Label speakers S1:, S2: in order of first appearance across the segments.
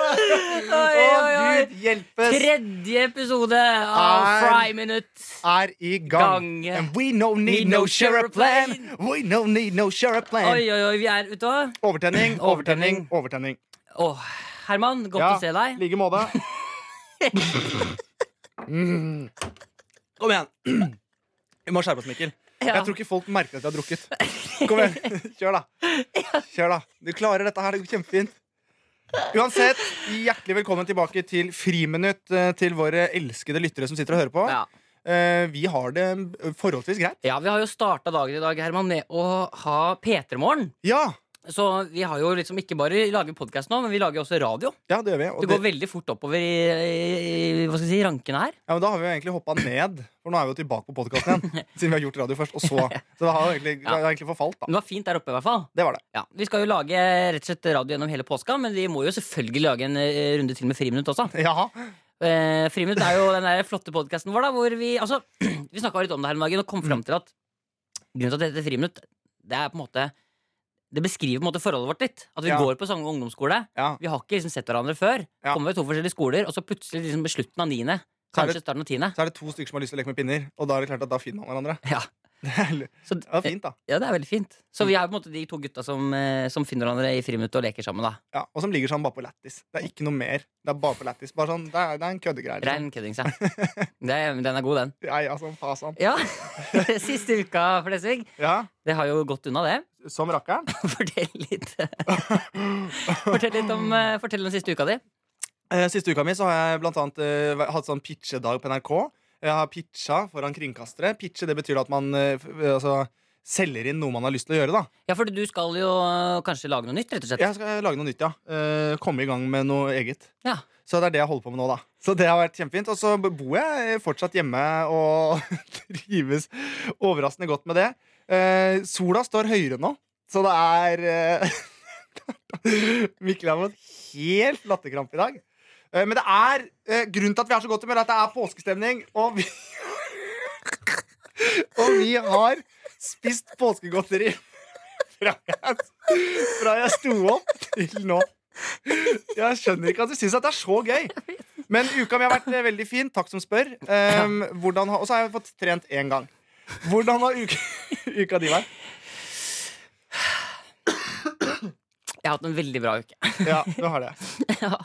S1: Oi, oi,
S2: Å,
S1: oi.
S2: gud hjelpes!
S1: Tredje episode av
S2: Er-
S1: Friminutt.
S2: Er i gang.
S1: Gang.
S2: And we no need no share a plan. We no need no share a
S1: Oi,
S2: plan.
S1: oi, oi, vi er ute òg.
S2: Overtenning, overtenning, overtenning.
S1: Å, Herman, godt å se
S2: i
S1: deg.
S2: like måte. Mm. Kom igjen. Vi må skjerpe oss, Mikkel.
S1: Ja.
S2: Jeg tror ikke folk merker at jeg har drukket. Kom igjen, Kjør, da. Kjør da Du klarer dette her. Det går kjempefint. Uansett, hjertelig velkommen tilbake til Friminutt eh, til våre elskede lyttere som sitter og hører på.
S1: Ja.
S2: Eh, Vi har det eh, forholdsvis greit.
S1: ja, vi har jo starta dagen i dag, Herman, med å ha P3morgen.
S2: Ja,
S1: Så vi har jo liksom ikke bare lager podkast nå, men vi lager også radio.
S2: ja det gjør vi. Og
S1: Det
S2: det,
S1: går veldig fort oppover i, i, i hva skal jeg si, rankene her.
S2: ja, men da har vi jo egentlig hoppa ned, for nå er vi jo tilbake på podkasten igjen. Siden vi har gjort radio først, og så. Så det har jo egentlig, det har egentlig forfalt, da.
S1: Men det var fint der oppe, i hvert fall.
S2: Det var det.
S1: Ja, Vi skal jo lage rett og slett radio gjennom hele påska, men vi må jo selvfølgelig lage en eh, runde til med Friminutt også.
S2: Jaha.
S1: Eh, Friminutt er jo den der flotte podkasten vår da, hvor vi altså, Vi snakka litt om det her om dagen og kom fram
S2: Mm.
S1: til at grunnen til at det heter Friminutt, det er på en måte Det beskriver på en måte forholdet vårt litt. At vi
S2: Ja.
S1: går på samme ungdomsskole.
S2: Ja.
S1: Vi har ikke liksom sett hverandre før.
S2: Ja.
S1: Kommer ved to forskjellige skoler, og så plutselig liksom ved slutten av niende,
S2: Så er det-
S1: kanskje starten av tiende.
S2: Så er det to stykker som har lyst til å leke med pinner, og da er det klart at da finner man hverandre.
S1: Ja.
S2: Det er, l-
S1: Så, eh,
S2: det er fint, Mm. da.
S1: ja, det er veldig fint. Så vi er på en måte de to gutta som, eh, som finner hverandre i friminuttet og leker sammen, da.
S2: Ja, og som ligger sånn bare på lættis. Det er ikke noe mer. Det er bare på lættis. Bare sånn, det er, det er en køddegreie. Liksom.
S1: Rein køddings, ja. Det, den er god, den.
S2: Ja, ja, sånn, fasan.
S1: Ja, Siste uka, Flesvig.
S2: ja,
S1: Det har jo gått unna, det.
S2: som rakkeren.
S1: Fortell litt Fortell litt om, eh, fortell om siste uka di.
S2: Eh, Siste uka mi så har jeg blant annet eh, væ- hatt sånn pitchedag på NRK. Jeg har pitcha foran kringkastere. Pitche det betyr at man eh, f- altså, selger inn noe man har lyst til å gjøre. da
S1: Ja, for du skal jo eh, kanskje lage noe nytt, rett og slett.
S2: Jeg skal lage noe nytt, ja. Eh, komme i gang med noe eget.
S1: Ja.
S2: Så det er det jeg holder på med nå, da. Så det har vært kjempefint. Og så bor jeg fortsatt hjemme og trives overraskende godt med det. Eh, sola står høyere nå, så det er eh, Mikkel har fått helt latterkrampe i dag. Eh, men det er eh, grunnen til at vi har så godt humør, er at det er påskestemning, og vi Og vi har spist påskegodteri fra jeg, fra jeg sto opp til nå. Jeg skjønner ikke at du syns at det er så gøy. Men uka mi har vært eh, veldig fin. Takk som spør. Um, hvordan har, og så har jeg fått trent én gang. Hvordan har uka, uka di vært?
S1: Jeg har hatt en veldig bra uke.
S2: Ja, du har det.
S1: Ja.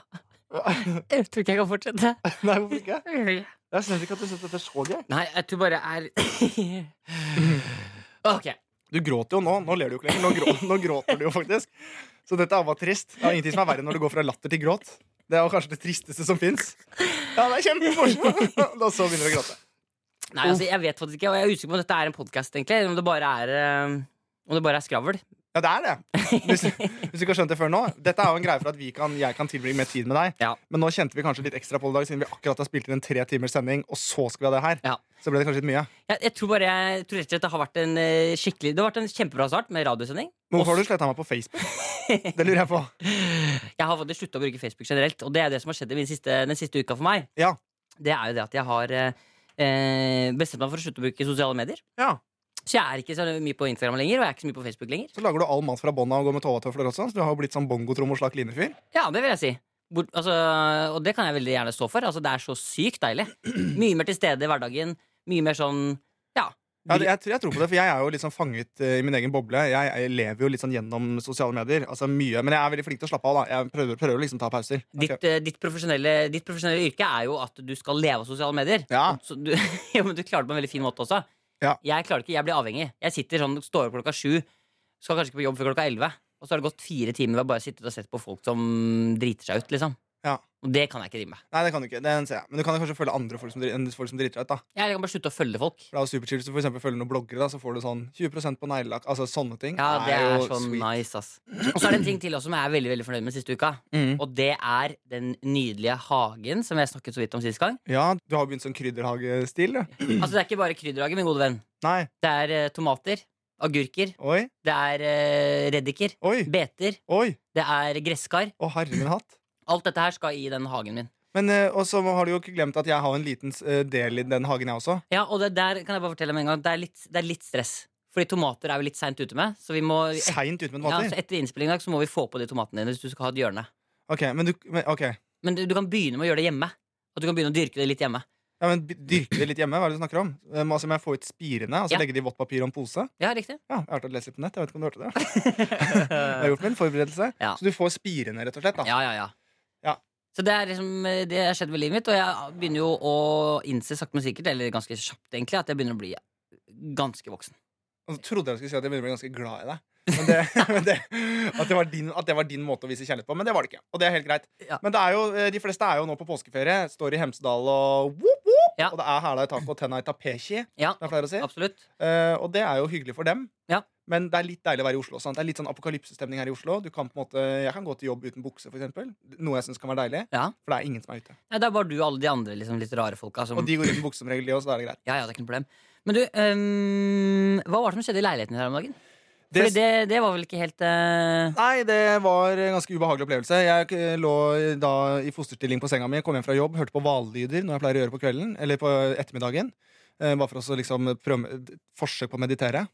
S1: Jeg tror ikke jeg kan fortsette.
S2: Nei, hvorfor ikke? Jeg skjønner ikke at du syns dette er så gøy.
S1: Nei, jeg tror bare jeg er Ok.
S2: Du gråter jo nå. Nå ler du jo ikke lenger. Nå, grå, nå gråter du jo faktisk. Så dette er bare trist. Det er ingenting som er verre når du går fra latter til gråt. Det er jo kanskje det tristeste som fins. Ja, det er kjempeforskjell. Da så begynner du å gråte.
S1: Nei, altså, jeg vet faktisk ikke, og jeg er usikker på om dette er en podkast, egentlig. Om det bare er, eh, om det bare er skravl.
S2: Ja, det er det. Hvis, hvis du ikke har skjønt det før nå Dette er jo en greie for at vi kan, jeg kan tilbringe mer tid med deg.
S1: Ja.
S2: Men nå kjente vi kanskje litt ekstra på det i dag siden vi akkurat har spilt inn en tre timers sending, og så skal vi ha det her.
S1: Ja.
S2: Så ble det kanskje litt mye.
S1: Jeg, jeg tror bare jeg tror rett og slett det har vært en eh, skikkelig Det har vært en kjempebra start med radiosending.
S2: Men hvorfor har du sletta meg på Facebook? Det lurer jeg på.
S1: Jeg har faktisk slutta å bruke Facebook generelt, og det er det som har skjedd i min siste, den siste uka for meg.
S2: Ja.
S1: Det er jo det at jeg har eh, eh, bestemt meg for å slutte å bruke sosiale medier.
S2: ja.
S1: Så jeg er ikke så mye på Instagram lenger, og jeg er ikke så mye på Facebook lenger.
S2: Så lager du all mat fra bånn av og går med tåvatøfler også. Så du har jo blitt sånn bongotromme og slakk linefyr.
S1: Ja, det vil jeg si. Bort, altså, og det kan jeg veldig gjerne stå for. Altså, det er så sykt deilig. Mye mer til stede i hverdagen. Mye mer sånn ja.
S2: Ja, det- jeg, tror- jeg tror på det, for jeg er jo litt sånn fanget eh, i min egen boble. Jeg, jeg lever jo litt sånn gjennom sosiale medier. Altså mye, Men jeg er veldig flink til å slappe av. da Jeg prøver, prøver å liksom ta pauser. Ok.
S1: Ditt, eh, ditt, profesjonelle, ditt profesjonelle yrke er jo at du skal leve av sosiale medier.
S2: Ja.
S1: Så du, jo, men du klarer det på en veldig fin måte også.
S2: Ja.
S1: Jeg klarer det ikke, jeg blir avhengig. Jeg sitter sånn, står opp klokka sju, skal kanskje ikke på jobb før klokka elleve. Og så har det gått fire timer hvor jeg bare har sittet og sett på folk som driter seg ut. liksom
S2: Ja.
S1: Og det kan jeg ikke drive med.
S2: Nei, det kan du ikke. Den ser jeg. Men du kan kanskje følge andre folk som, dri- enn folk som driter seg ut. da
S1: Jeg kan bare slutte å følge folk.
S2: For det er jo superchill Hvis du for eksempel følger noen bloggere, da, så får du sånn 20 på neglelakk. Altså sånne ting.
S1: Ja, det er
S2: jo
S1: så
S2: sweet.
S1: nice, ass. Og så er det en ting til også som jeg er veldig veldig fornøyd med siste uka.
S2: Mm.
S1: Og det er den nydelige hagen som jeg snakket så vidt om sist gang.
S2: Ja, du har begynt sånn krydderhagestil, du.
S1: Altså Det er ikke bare krydderhage, min gode venn.
S2: Nei.
S1: Det er eh, tomater, agurker,
S2: Oi,
S1: det er eh, reddiker,
S2: oi,
S1: beter,
S2: oi.
S1: det er gresskar.
S2: Å, herre min hatt.
S1: Alt dette her skal i den hagen min.
S2: Men eh, og så har du jo ikke glemt at jeg har en liten eh, del i den hagen, jeg også.
S1: Ja, og det der kan jeg bare fortelle med en gang Det er litt, det er litt stress. Fordi tomater er vi litt seint ute med. Så vi må et,
S2: Seint ute med
S1: ja, så
S2: tomater.
S1: etter innspilling i dag Så må vi få på de tomatene dine hvis du skal ha et hjørne.
S2: Ok, men du men, Ok,
S1: Men du, du kan begynne med å gjøre det hjemme. At du kan begynne å dyrke det litt hjemme.
S2: Ja, men by- Dyrke det litt hjemme? Hva er det du snakker om? Eh, må- Altså, må jeg få ut spirene? Altså
S1: Ja.
S2: Legge det i vått papir og en pose?
S1: Ja, riktig.
S2: Ja, jeg har vært og lest litt på nett. Jeg vet ikke om du hørte det? Jeg har gjort min forberedelse
S1: Ja.
S2: Så du får spirene, rett og slett. da
S1: Ja, ja, ja.
S2: Ja.
S1: Så det er liksom eh, Det har skjedd med livet mitt, og jeg begynner jo å innse sakte, men sikkert, eller ganske kjapt, egentlig, at jeg begynner å bli ganske voksen.
S2: Og så Altså, trodde jeg du skulle si at jeg begynner å bli ganske glad i deg. Men det, men det, at, det var din, at det var din måte å vise kjærlighet på. Men det var det ikke. Og det er helt greit.
S1: Ja.
S2: Men det er jo, eh, de fleste er jo nå på påskeferie. Står i Hemsedal og whoop, whoop,
S1: Ja.
S2: Og det er hæla i taket og tenna i tapechi.
S1: Ja,
S2: som Jeg pleier å si.
S1: absolutt.
S2: Eh, og det er jo hyggelig for dem.
S1: Ja.
S2: Men det er litt deilig å være i Oslo. Sant? Det er litt sånn apokalypsestemning her i Oslo. Du kan på en måte, jeg kan gå til jobb uten bukse, for eksempel. Noe jeg syns kan være deilig.
S1: Ja.
S2: For det er ingen som er ute.
S1: Nei, det er bare du og alle de andre liksom, litt rare folka som
S2: Og de går uten bukse som regel, de også, så da er det greit.
S1: Ja, ja, det er ikke noe problem. Men du, ehm, hva var det som skjedde i leiligheten din her om dagen?
S2: Det-
S1: Fordi det, det var vel ikke helt eh,
S2: Nei, det var en ganske ubehagelig opplevelse. Jeg eh, lå da i fosterstilling på senga mi, kom hjem fra jobb, hørte på hvallyder når jeg pleier å gjøre på kvelden, eller på ettermiddagen. Eh, Bare for å så liksom prøve forsøk på å meditere.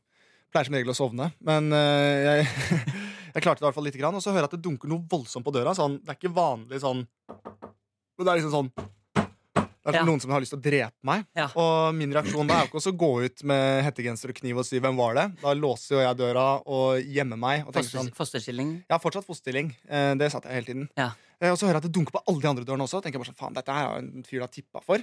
S2: Pleier som regel å sovne, men eh, jeg, jeg klarte det i hvert fall lite grann. Og så hører jeg at det dunker noe voldsomt på døra. Sånn, det er ikke vanlig sånn Men det er liksom sånn Det er
S1: Ja.
S2: som noen som har lyst til å drepe meg.
S1: Ja.
S2: Og min reaksjon da er jo ikke også å gå ut med hettegenser og kniv og si 'hvem var det?' Da låser jo jeg døra og gjemmer meg. Og tenker
S1: foster,
S2: sånn
S1: fosterstilling?
S2: jeg har fortsatt fosterstilling. Eh, Det satt jeg hele tiden.
S1: Ja.
S2: Eh, Og så hører jeg at det dunker på alle de andre dørene også. Tenker jeg bare sånn, faen, dette her er jo en fyr du har tippa for.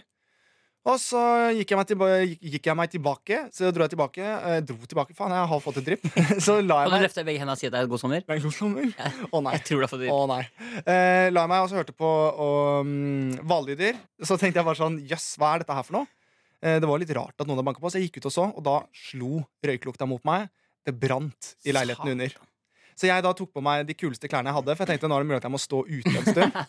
S2: Og så gikk jeg, meg tilba gikk- gikk jeg meg tilbake. Så dro jeg tilbake. Eh, dro tilbake, faen, jeg har fått et drypp. Så la jeg
S1: Kan du
S2: meg
S1: løfte begge hendene og si at det er god sommer?
S2: Men god sommer. Å nei.
S1: Jeg tror det er for
S2: Å nei. Eh, la jeg meg, og så hørte jeg på og, mm, hvallyder. Så tenkte jeg bare sånn, jøss, hva er dette her for noe? Eh, det var litt rart at noen hadde banka på, så jeg gikk ut og så, og da slo røyklukta mot meg. Det brant i leiligheten
S1: Satan.
S2: under. Så jeg da tok på meg de kuleste klærne jeg hadde, for jeg tenkte nå er det mulig at jeg må stå ute en stund.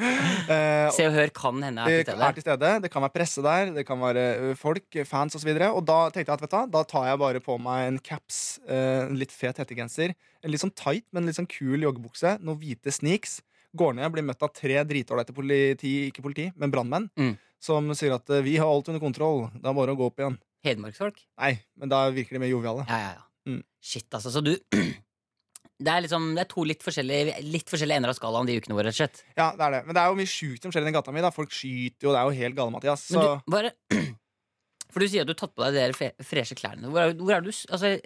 S2: Eh, og
S1: Se og Hør kan hende
S2: det
S1: er til
S2: er
S1: stede.
S2: til stede. Det kan være presse der, det kan være ø, folk, fans osv. Og, så videre. og da tenkte jeg at vet du, hva, da tar jeg bare på meg en caps, eh, en litt fet hettegenser, en litt sånn tight, men litt sånn kul joggebukse, noen hvite sneaks. Går ned, blir møtt av tre dritålreite politi, ikke politi, men brannmenn,
S1: Mm.
S2: som sier at eh, 'vi har alt under kontroll', det er bare å gå opp igjen.
S1: Hedmarksfolk?
S2: Nei, men da virker de mer joviale.
S1: Ja, ja, ja.
S2: Mm.
S1: Shit, altså. Så du Det er liksom Det er to litt forskjellige, litt forskjellige ender av skalaen de ukene våre, rett og slett.
S2: Ja, det er det. Men det er jo mye sjukt som skjer i den gata mi. da Folk skyter jo, det er jo helt gale, Mathias. Så
S1: Men du, bare For du sier at du har tatt på deg de der fe- freshe klærne. Hvor er, hvor er du s- altså,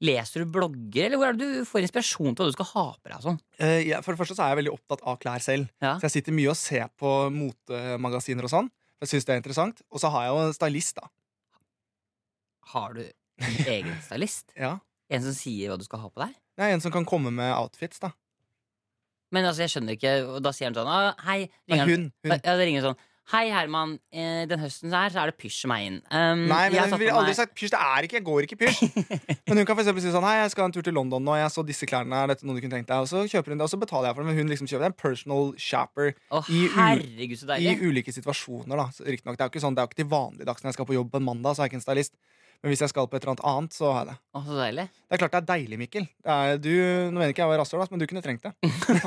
S1: Leser du blogger, eller hvor er det du får inspirasjon til hva du skal ha på deg? og Sånn?
S2: eh, ja, for det første så er jeg veldig opptatt av klær selv.
S1: Ja.
S2: Så jeg sitter mye og ser på motemagasiner og sånn. for Jeg synes det er interessant Og så har jeg jo en stylist, da.
S1: Har du en egen stylist?
S2: Ja.
S1: En som sier hva du skal ha på deg?
S2: Det er en som kan komme med outfits, da.
S1: Men altså, jeg skjønner ikke, og da sier han sånn ah, Hei,
S2: Nei,
S1: ringer han-
S2: hun. hun.
S1: Ja, det ringer sånn Hei, Herman. Eh, den høsten her så er det pysj meg inn. Um,
S2: Nei, men
S1: jeg har
S2: jeg
S1: tatt
S2: ville
S1: på
S2: aldri
S1: meg-
S2: sagt pysj. Det er ikke, jeg går ikke pysj. Men hun kan for eksempel si sånn Hei, jeg skal ha en tur til London nå, jeg så disse klærne, er dette noe du kunne tenkt deg? Og så kjøper hun det, og så betaler jeg for det, men hun liksom kjøper det. En personal shopper
S1: Å,
S2: i u-
S1: herregud, så
S2: i
S1: deilig.
S2: ulike situasjoner, da. Så Riktignok, det er jo ikke sånn, det er jo ikke til vanligdags når jeg skal på jobb på en mandag, så har jeg ikke en stylist. Men hvis jeg skal på et eller annet annet, så har jeg det.
S1: Å, så deilig.
S2: Det er klart det er deilig, Mikkel. Det er, du, nå mener ikke jeg var rasshøl, ass, men du kunne trengt det.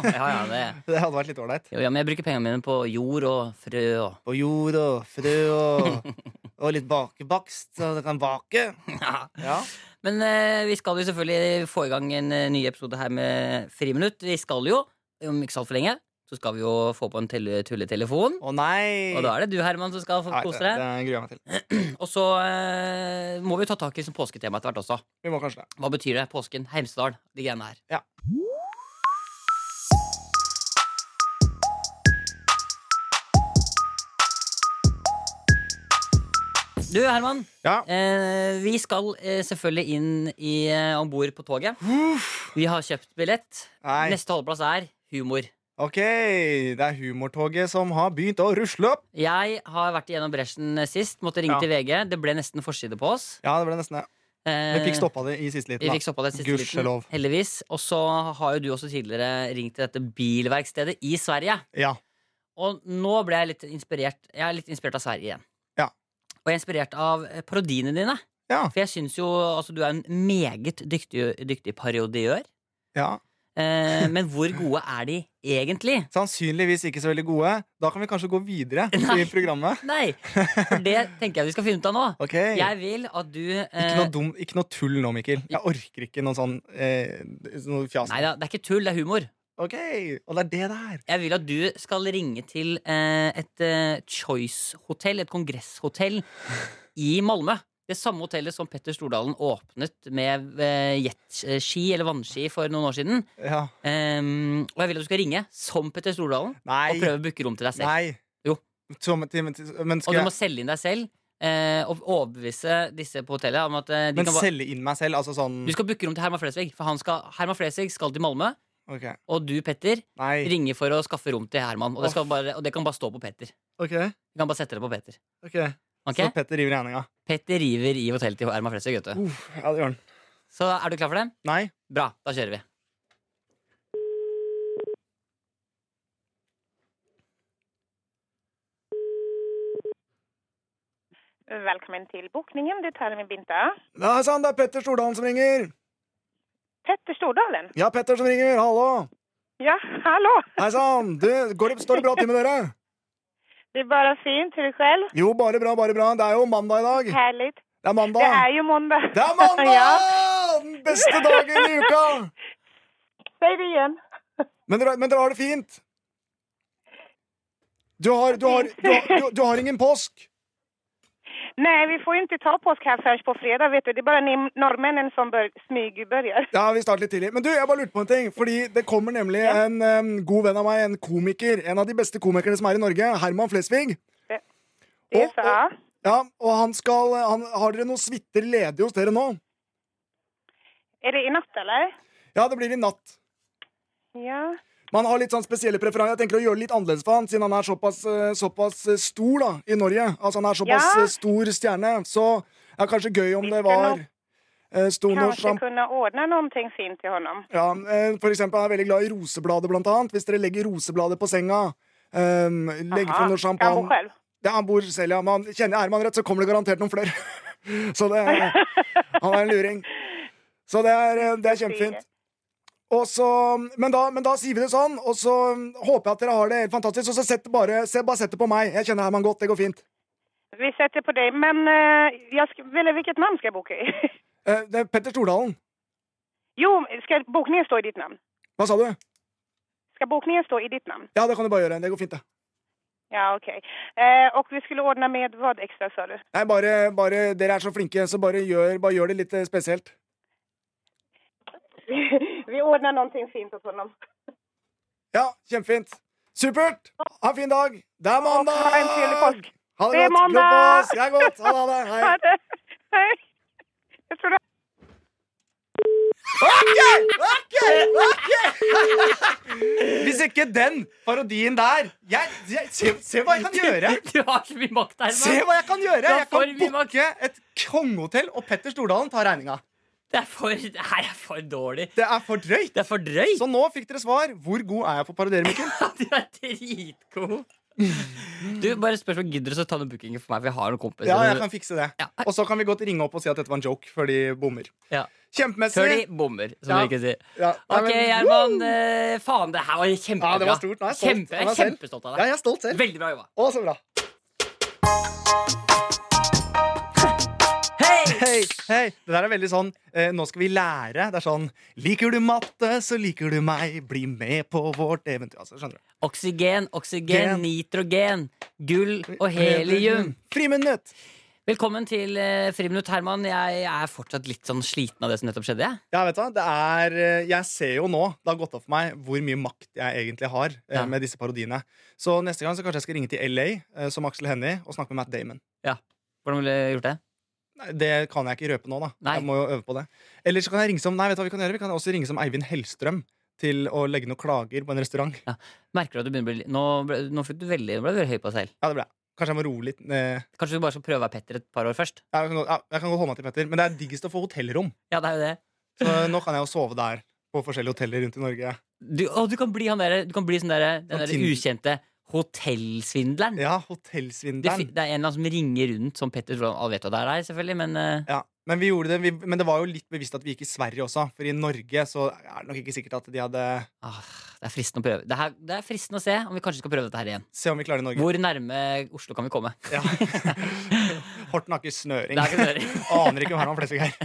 S1: Ja, ja, det.
S2: Det hadde vært litt ålreit.
S1: Jo, ja, men jeg bruker pengene mine på jord og frø og
S2: Og jord og frø og, og litt bakebakst, så det kan bake. Ja.
S1: Men eh, vi skal jo selvfølgelig få i gang en eh, ny episode her med Friminutt. Vi skal jo, om ikke så altfor lenge, så skal vi jo få på en telle- tulletelefon.
S2: Å nei!
S1: Og da er det du, Herman, som skal få
S2: Nei,
S1: kose
S2: det,
S1: deg.
S2: det gruer jeg meg til.
S1: Og så eh, må vi jo ta tak i som påsketema etter hvert også.
S2: Vi må kanskje det.
S1: Hva betyr det? Påsken, Heimsdal, de greiene her.
S2: Ja.
S1: Du, Herman.
S2: Ja.
S1: Eh, vi skal eh, selvfølgelig inn i, eh, om bord på toget. Vi har kjøpt billett.
S2: Nei.
S1: Neste holdeplass er humor.
S2: Ok, det er humortoget som har begynt å rusle opp.
S1: Jeg har vært igjennom bresjen sist. Måtte ringe
S2: Ja.
S1: til VG. Det ble nesten forside på oss.
S2: Ja, det ble nesten det.
S1: Eh,
S2: Vi fikk stoppa det i siste liten.
S1: Vi
S2: da.
S1: fikk stoppa det siste liten,
S2: Gudskjelov.
S1: heldigvis. Og så har jo du også tidligere ringt til dette bilverkstedet i Sverige.
S2: Ja.
S1: Og nå ble jeg litt inspirert. Jeg er litt inspirert av Sverige igjen.
S2: Ja.
S1: Og jeg er inspirert av eh, parodiene dine.
S2: Ja.
S1: For jeg syns jo altså, du er en meget dyktig, dyktig parodiør.
S2: ja.
S1: Eh, men hvor gode er de egentlig?
S2: Sannsynligvis ikke så veldig gode. Da kan vi kanskje gå videre
S1: Nei.
S2: i programmet.
S1: Nei! For det tenker jeg vi skal finne ut av nå.
S2: Ok
S1: Jeg vil at du
S2: Ikke
S1: eh,
S2: noe, dum, ikke noe tull nå, Mikkel. Jeg orker ikke noe sånn eh, noe fjas.
S1: Nei da, det er ikke tull, det er humor.
S2: Ok, Og det er det det er.
S1: Jeg vil at du skal ringe til eh, et eh, choice-hotell, et kongresshotell i Malmö. Det samme hotellet som Petter Stordalen åpnet med eh, jetski eller vannski for noen år siden.
S2: Ja.
S1: Ehm, og jeg vil at du skal ringe som Petter Stordalen og
S2: Nei.
S1: prøve å booke rom til deg selv.
S2: Nei.
S1: Jo.
S2: Så, men, men, men,
S1: Og
S2: skal
S1: du
S2: jeg,
S1: må selge inn deg selv eh, og overbevise disse på hotellet om at eh, de
S2: men
S1: kan bare
S2: selge inn meg selv? Altså sånn
S1: du skal booke rom til Herman Flesvig, for han skal, Herman Flesvig skal til Malmö.
S2: Ok.
S1: Og du, Petter,
S2: Nei.
S1: ringer for å skaffe rom til Herman. Og det, skal bare, og det kan bare stå på Petter.
S2: Ok.
S1: Du kan bare sette det på Petter.
S2: ok
S1: Ok?
S2: Så Petter river regninga.
S1: Petter river i hotellet til Herman Flesvig, vet du.
S2: Uff, Ja, det gjør han.
S1: Så er du klar for det?
S2: Nei.
S1: Bra, da kjører vi.
S3: Velkommen til bokningen. Du taler med Binta.
S2: Nei, sann, det er Petter Stordalen som ringer.
S3: Petter Stordalen.
S2: Ja, Petter som ringer. Hallo.
S3: Ja, hallå!
S2: Hei sann. Du, går det- Står det bra til med dere?
S3: Det er bare fint. Til deg selv?
S2: Jo, bare bra, bare bra. Det er jo mandag i dag.
S3: Herlig.
S2: Det er mandag.
S3: Det er jo mandag.
S2: Det er mandag!
S3: ja.
S2: Den beste dagen i uka!
S3: Si det igjen.
S2: Men dere, men dere har det fint? Du har, du, har, du, har, du, du har ingen påsk?
S3: Nei, vi får jo ikke ta påsk her først på fredag, vet du. Det er bare ni nordmennene som bør, smygbegynner.
S2: Ja, vi starter litt tidlig. Men du, jeg bare lurte på en ting. Fordi det kommer nemlig en em, god venn av meg, en komiker. En av de beste komikerne som er i Norge. Herman Flesvig.
S3: Det
S2: Og-
S3: sa jeg.
S2: Ja, og han skal han, Har dere noen suiter ledig hos dere nå?
S3: Er det i natt, eller?
S2: Ja, det blir i natt.
S3: Ja.
S2: Man har litt sånn spesielle preferanser. Jeg tenker å gjøre det litt annerledes for han, siden han er såpass, eh, såpass eh, stor da, i Norge. Altså Han er såpass
S3: Ja.
S2: eh, stor stjerne. Så det er kanskje gøy om
S3: Vi
S2: det
S3: skal
S2: var
S3: nok-
S2: eh, stor norsk
S3: Kanskje
S2: sjamp...
S3: kunne ordne noe fint til honom.
S2: Ja, eh, for eksempel han er veldig glad i rosebladet, blant annet. Hvis dere legger rosebladet på senga, eh, legger
S3: Aha.
S2: fra noe
S3: Kan bo
S2: champagne
S3: selv.
S2: ja, Han bor selv, ja. Men han- kjenner jeg Herman rett, så kommer det garantert noen flere. så det Han er en luring. Så det er, eh, det er kjempefint. Og så, men, da, men da sier vi det sånn, og så håper jeg at dere har det helt fantastisk. Og så sett bare, se, bare sett det på meg. Jeg kjenner Herman godt. Det går fint.
S3: Vi setter på deg. Men eh, jeg sk eller, hvilket navn skal jeg boke i?
S2: Eh, det er Petter Stordalen.
S3: jo, skal bokningen stå i ditt navn?
S2: Hva sa du?
S3: Skal bokningen stå i ditt navn?
S2: Ja, det kan du bare gjøre. Det går fint, det.
S3: Ja, okej. Eh, och vi skulle ordna med vad extra sa du?
S2: Nei, bare, bare Dere er så flinke, så bare gjør, bare gjør det litt eh, spesielt.
S3: vi ordnar någonting fint åt honom.
S2: Ja, kjempefint. Supert! Ha en fin dag. Det er mandag!
S3: ha en trevlig påsk.
S2: Ha det,
S3: Det er
S2: godt. Glem på
S3: mandag!
S2: oss. Det er godt. Ha det, ha det. Hei.
S3: Ha det. Hej. Jag tror det.
S2: Hvis ikke den parodien der jeg, jeg, se, se hva jeg kan gjøre!
S1: Du har så mye makt,
S2: Se
S1: Herman.
S2: hva jeg kan gjøre!
S1: Du har
S2: Jeg kan
S1: for mye makt.
S2: booke et kongehotell, og Petter Stordalen tar regninga.
S1: Det er for, det her er for dårlig.
S2: Det er for drøyt.
S1: Det er for drøyt.
S2: Så nå fikk dere svar. Hvor god er jeg på å parodiere, Mikkel?
S1: Du er dritgod. Du, bare spørsmål, Gidder du å ta den bookingen for meg? For jeg har noen kompiser.
S2: Ja, jeg kan fikse det.
S1: Ja.
S2: Og så kan vi godt ringe opp og si at dette var en joke, før de bommer.
S1: Ja. Før de
S2: Kjempemessig.
S1: bommer, som
S2: Ja.
S1: vi ikke sier.
S2: Ja, nei,
S1: Ok,
S2: men-
S1: Gjerman. Eh, faen, det her var kjempebra.
S2: Ja, det var stort. Nå er jeg stolt av meg
S1: Kjempe, jeg er
S2: selv.
S1: kjempestolt av
S2: Ja,
S1: deg.
S2: jeg er stolt selv.
S1: Veldig bra jobba.
S2: Å, så bra.
S1: Hei!
S2: Hei, hei. Det der er veldig sånn eh, Nå skal vi lære. Det er sånn Liker du matte, så liker du meg. Bli med på vårt eventyr. Altså, skjønner du?
S1: Oksygen, oksygen,
S2: Gen.
S1: nitrogen, gull og helium.
S2: Friminutt.
S1: Velkommen til eh, Friminutt, Herman. Jeg er fortsatt litt sånn sliten av det som nettopp skjedde. jeg.
S2: Ja, vet du, hva? det er, eh, jeg ser jo nå, det har gått opp for meg, hvor mye makt jeg egentlig har eh,
S1: Ja.
S2: med disse parodiene. Så neste gang så kanskje jeg skal ringe til LA, eh, som Aksel Hennie, og snakke med Matt Damon.
S1: Hvordan ville du gjort det?
S2: Nei, Det kan jeg ikke røpe nå, da.
S1: Nei.
S2: Jeg må jo øve på det. Eller så kan jeg ringe som Nei, vet du hva vi kan gjøre? Vi kan også ringe som Eivind Hellstrøm til å legge noen klager på en restaurant.
S1: Merker du at du begynner å bli litt- Nå, ble, nå fikk du veldig, nå ble du veldig høy på deg selv.
S2: Ja, det ble jeg. Kanskje jeg må roe litt ned.
S1: Kanskje du bare skal prøve å være Petter et par år først?
S2: Ja, Jeg kan, godt- ja, jeg kan godt holde meg til Petter, men det er diggest å få hotellrom.
S1: Ja, det er jo det.
S2: Så nå kan jeg jo sove der på forskjellige hoteller rundt i Norge.
S1: Du, å, du kan bli han derre Du kan bli sånn derre den
S2: Sånn
S1: derre
S2: Tinder.
S1: ukjente hotellsvindleren.
S2: Ja,
S1: Det, fi-
S2: hotellsvindelen.
S1: det er en eller annen som ringer rundt som Petter Stordalen. Alle vet hva det er, her, selvfølgelig, men eh,
S2: Ja, men, vi gjorde det, vi, men det var jo litt bevisst at vi gikk i Sverige også. For i Norge så er det nok ikke sikkert at de hadde
S1: ah, det er fristende å prøve. Det, her, det er fristende å se om vi kanskje skal prøve dette her igjen.
S2: Se om vi klarer Norge.
S1: Hvor nærme Oslo kan vi komme?
S2: Ja. Horten har ikke snøring.
S1: Det er ikke snøring.
S2: Aner ikke om Herman Flesvig her.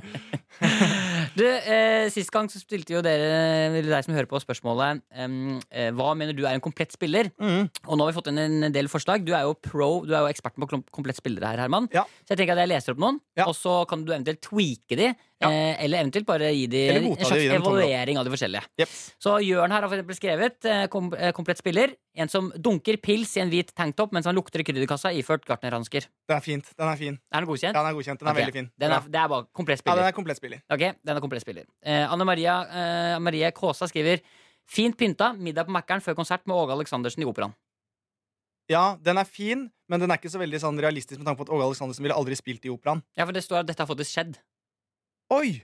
S1: Du, eh, Sist gang så stilte jo dere eller deg som hører på spørsmålet em, eh, hva mener du er en komplett spiller.
S2: Mm.
S1: Og nå har vi fått inn en del forslag. Du er jo pro, du er jo eksperten på klom- komplett spillere her, Herman.
S2: Ja.
S1: Så jeg tenker at jeg leser opp noen,
S2: Ja.
S1: og så kan du eventuelt tweake de.
S2: Ja.
S1: Eh, eller eventuelt bare gi de
S2: Eller
S1: en
S2: godta de og
S1: slags
S2: gi dem tommel opp.
S1: evaluering av de forskjellige.
S2: Jepp.
S1: Så Jørn her har for eksempel skrevet eh, kom, eh, komplett spiller. En som dunker pils i en hvit tanktop mens han lukter i krydderkassa iført gartnerhansker.
S2: Den er fint. Den er fin.
S1: Er den godkjent?
S2: Ja, den er godkjent. Den er
S1: Ok.
S2: veldig fin.
S1: Den
S2: Ja.
S1: er, det er bare komplett
S2: ja,
S1: spiller.
S2: den er komplett spiller.
S1: Ok, den er komplett spiller. Eh, Anne Maria, eh, Marie Kaasa skriver Fint pynta, middag på Mækkern før konsert med Åge Aleksandersen i operaen.
S2: Ja, den er fin, men den er ikke så veldig sånn realistisk med tanke på at Åge Aleksandersen ville aldri spilt i operaen.
S1: Ja, for det står at dette har faktisk skjedd.
S2: Oi!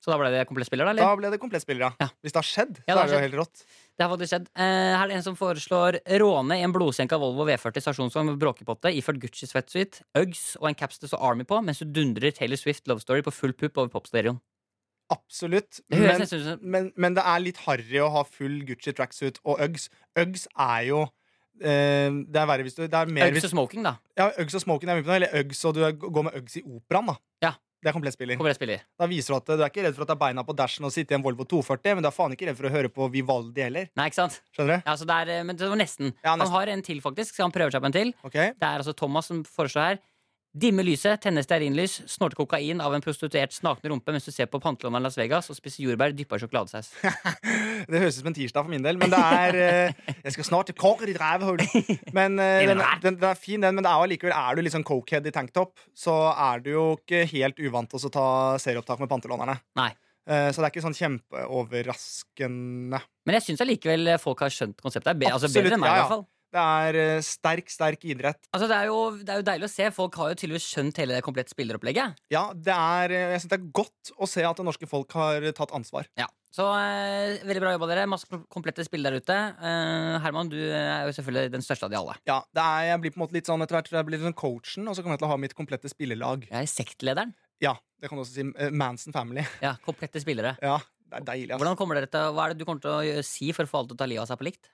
S1: Så da ble det komplett spiller, da?
S2: Da
S1: eller?
S2: ble det komplett spiller, ja.
S1: Ja.
S2: Hvis det har skjedd,
S1: Ja,
S2: så
S1: det har
S2: er det jo
S1: skjedd.
S2: helt rått.
S1: Det har faktisk skjedd. Eh, her er det en som foreslår råne i en blodsenka Volvo V40 stasjonsvogn med bråkepotte iført Gucci sweatsuit, Uggs og en caps det står Army på, mens du dundrer Taylor Swift Love Story på full pupp over popstereoen.
S2: Absolutt.
S1: Det høres
S2: Men,
S1: nesten ut som
S2: men, men det er litt harry å ha full Gucci tracksuit og Uggs. Uggs er jo eh, Det er verre hvis du Det er mer
S1: Uggs
S2: hvis
S1: og smoking, da.
S2: Ja, Uggs og smoking er mye på det. Eller Uggs og du er- går med Uggs i operaen, da.
S1: Ja.
S2: Det er komplett spiller.
S1: Komplett spiller.
S2: Da viser du at du er ikke redd for at det er beina på dashen og sitte i en Volvo 240, men du er faen ikke redd for å høre på Vivaldi heller.
S1: Nei, ikke sant?
S2: Skjønner du?
S1: Ja, så det er, eh, men det var nesten.
S2: Ja, nesten.
S1: Han har en til, faktisk, så han prøver seg på en til.
S2: Ok?
S1: Det er altså Thomas som foreslår her. Dimme lyset, tenne stearinlys, snorte kokain av en prostituert snakende rumpe mens du ser på Pantelåneren Las Vegas og spiser jordbær dyppa i sjokoladesaus.
S2: Det høres ut som en tirsdag for min del, men det er eh, Jeg skal snart til korker i rævhullet. Men eh, den, den, den er fin, den, men det er jo allikevel Er du litt sånn cokehead i tanktop, så er du jo ikke helt uvant til å ta serieopptak med pantelånerne.
S1: Nei.
S2: Eh, Så det er ikke sånn kjempeoverraskende.
S1: Men jeg syns allikevel folk har skjønt konseptet. Be altså
S2: Absolutt,
S1: bedre enn
S2: ja,
S1: meg, i
S2: ja.
S1: hvert fall.
S2: Det er eh, sterk, sterk idrett.
S1: Altså, det, er jo, det er jo deilig å se. Folk har jo tydeligvis skjønt hele det komplette spilleropplegget.
S2: Ja, det er, eh, jeg syns det er godt å se at det norske folk har tatt ansvar.
S1: Ja. Så eh, veldig bra jobba, dere. Masse kom- komplette spill der ute. Eh, Herman, du er jo selvfølgelig den største av de alle.
S2: Ja, det er, jeg blir på en måte litt sånn etter hvert Jeg blir litt sånn coachen, og så kommer jeg til å ha mitt komplette spillelag.
S1: Jeg er sektlederen.
S2: Ja, det kan du også si. eh, Manson Family.
S1: Ja, komplette spillere.
S2: Ja, det er deilig, ass.
S1: Hvordan kommer dere til, Hva er det du kommer til å gjø- si for å få alle til å ta livet av seg på likt?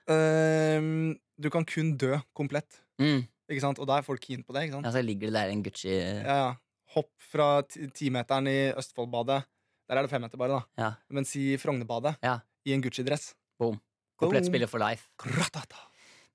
S2: Ehm, du kan kun dø komplett,
S1: Mm.
S2: ikke sant? Og da er folk keen på det, ikke sant?
S1: Ja, så ligger det der en Gucci
S2: Ja, ja. Hopp fra ti- timeteren i Østfoldbadet. Der er det femmeter bare, da.
S1: Ja.
S2: Men si Frognerbadet.
S1: Ja.
S2: I en Gucci-dress.
S1: Boom. Komplett
S2: Boom.
S1: spiller for life.
S2: Kratata.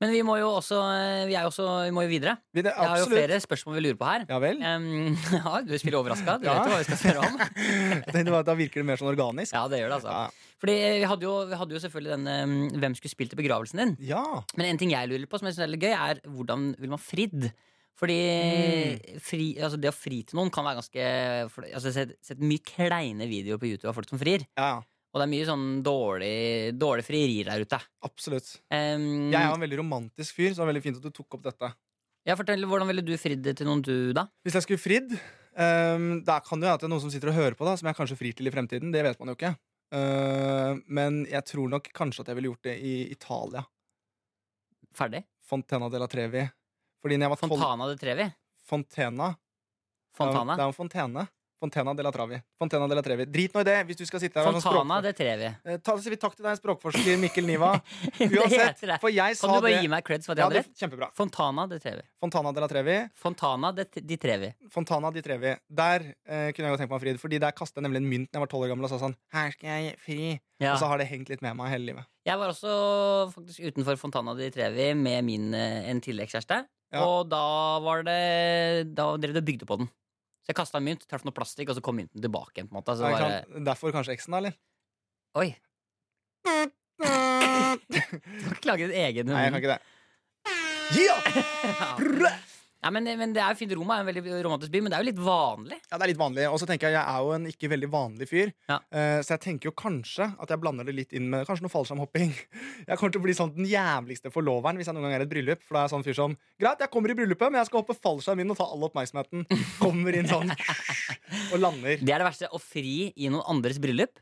S1: Men vi må jo også, eh, vi er jo også vi må jo videre.
S2: Vi- det-
S1: Jeg har jo
S2: absolutt.
S1: flere spørsmål vi lurer på her.
S2: Ja vel?
S1: Em, ja, du spiller overraska. Du
S2: Ja.
S1: vet jo hva vi skal spørre om.
S2: Jeg tenkte bare at Da virker det mer sånn organisk.
S1: Ja, det gjør det, altså.
S2: Ja.
S1: Fordi eh, vi hadde jo, vi hadde jo selvfølgelig den em, Hvem skulle spilt i begravelsen din?
S2: ja.
S1: Men en ting jeg lurer på, som jeg synes er litt gøy, er hvordan vil man fridd? Fordi
S2: Mm.
S1: fri, altså det å fri til noen kan være ganske for- altså Jeg har sett- sett mye kleine videoer på YouTube av folk som frir.
S2: ja, ja.
S1: Og det er mye sånn dårlig, dårlig frierier der ute.
S2: Absolutt.
S1: Em,
S2: Jeg er jo en veldig romantisk fyr, så det er veldig fint at du tok opp dette.
S1: Ja, fortell, Hvordan ville du fridd til noen du, da?
S2: Hvis jeg skulle fridd ehm, Da kan det jo være at det er noen som sitter og hører på, da som jeg kanskje frir til i fremtiden. Det vet man jo ikke. Eh, men jeg tror nok kanskje at jeg ville gjort det i Italia.
S1: Ferdig?
S2: Fontena della Trevi. Fordi når jeg var tolv
S1: Fontana de Trevi?
S2: Fontena. Det er
S1: Fontana?
S2: jo Fontene. Fontena della Travi. Fontena della Trevi. Drit nå i det, hvis du skal sitte her og være sånn
S1: Fontana
S2: språkfor-
S1: de Trevi.
S2: Eh, Ta, sier vi takk til deg, språkforsker Mikkel Niva.
S1: Det
S2: Uansett,
S1: heter det.
S2: for jeg sa
S1: Kan du bare
S2: det.
S1: gi meg creds for at jeg
S2: Ja,
S1: hadde
S2: det
S1: rett?
S2: kjempebra.
S1: Fontana de Trevi.
S2: Fontana della Trevi.
S1: Fontana de, de Trevi.
S2: Fontana di Trevi. Der eh, kunne jeg godt tenkt meg å fri. Fordi der kastet jeg nemlig en mynt da jeg var tolv år gammel og sa sånn Her skal jeg fri.
S1: Ja.
S2: Og så har det hengt litt med meg hele livet.
S1: Jeg var også faktisk utenfor Fontana de Trevi med min, eh, en tidligere kjæreste.
S2: Ja.
S1: Og da var det Da drev det og bygde på den. Så jeg kasta en mynt, traff noe plastikk, og så kom mynten tilbake igjen. på en måte Så
S2: Nei,
S1: var det,
S2: ikke sant? Derfor kanskje eksen, da, eller?
S1: Oi,
S2: Nei,
S1: du kan ikke lage din egen
S2: jeg kan
S1: mynt.
S2: ikke det. Yeah!
S1: Ja. Nei, men, men det er jo fint. Roma er en veldig romantisk by, men det er jo litt vanlig.
S2: Ja, det er litt vanlig. Og så tenker jeg jeg er jo en ikke veldig vanlig fyr.
S1: Ja.
S2: Eh, så jeg tenker jo kanskje at jeg blander det litt inn med kanskje noe fallskjermhopping. Jeg kommer til å bli sånn den jævligste forloveren hvis jeg noen gang er i et bryllup. For da er jeg sånn fyr som Greit, jeg kommer i bryllupet, men jeg skal hoppe fallskjerm inn og ta all oppmerksomheten. Kommer inn sånn og lander.
S1: Det er det verste. Å fri i noen andres bryllup.